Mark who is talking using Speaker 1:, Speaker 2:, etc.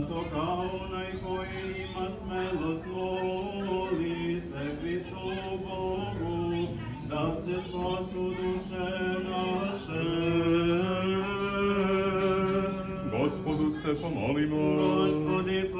Speaker 1: Zato kao onaj koji ima smelost moli se Hristu Bogu, da se spasu duše naše.
Speaker 2: Gospodu se pomolimo.
Speaker 1: Gospodi,